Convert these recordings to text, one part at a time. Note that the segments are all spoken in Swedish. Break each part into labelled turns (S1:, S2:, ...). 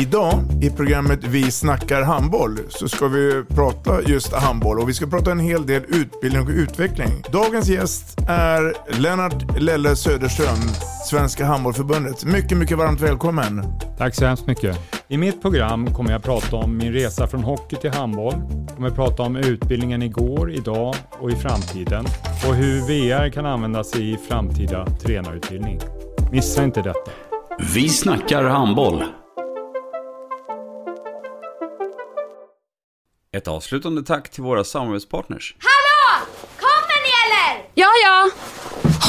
S1: Idag i programmet Vi snackar handboll så ska vi prata just handboll och vi ska prata en hel del utbildning och utveckling. Dagens gäst är Lennart Lelle Söderström, Svenska Handbollförbundet. Mycket, mycket varmt välkommen.
S2: Tack så hemskt mycket. I mitt program kommer jag prata om min resa från hockey till handboll. Jag kommer prata om utbildningen igår, idag och i framtiden och hur VR kan användas i framtida tränarutbildning. Missa inte detta.
S3: Vi snackar handboll. Ett avslutande tack till våra samarbetspartners.
S4: Hallå! Kommer ni eller?
S5: Ja, ja.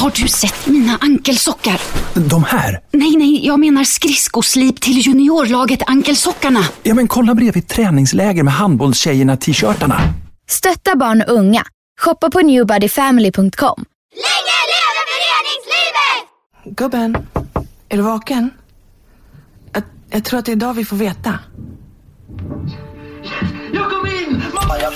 S5: Har du sett mina ankelsockar?
S6: De här?
S5: Nej, nej, jag menar skridskoslip till juniorlaget Ankelsockarna.
S6: Ja, men kolla bredvid träningsläger med handbollstjejerna-t-shirtarna.
S7: Stötta barn och unga. Shoppa på newbodyfamily.com.
S4: Länge leve föreningslivet!
S8: Gubben, är du vaken? Jag, jag tror att det är idag vi får veta.
S9: Jag kom in! Mamma, jag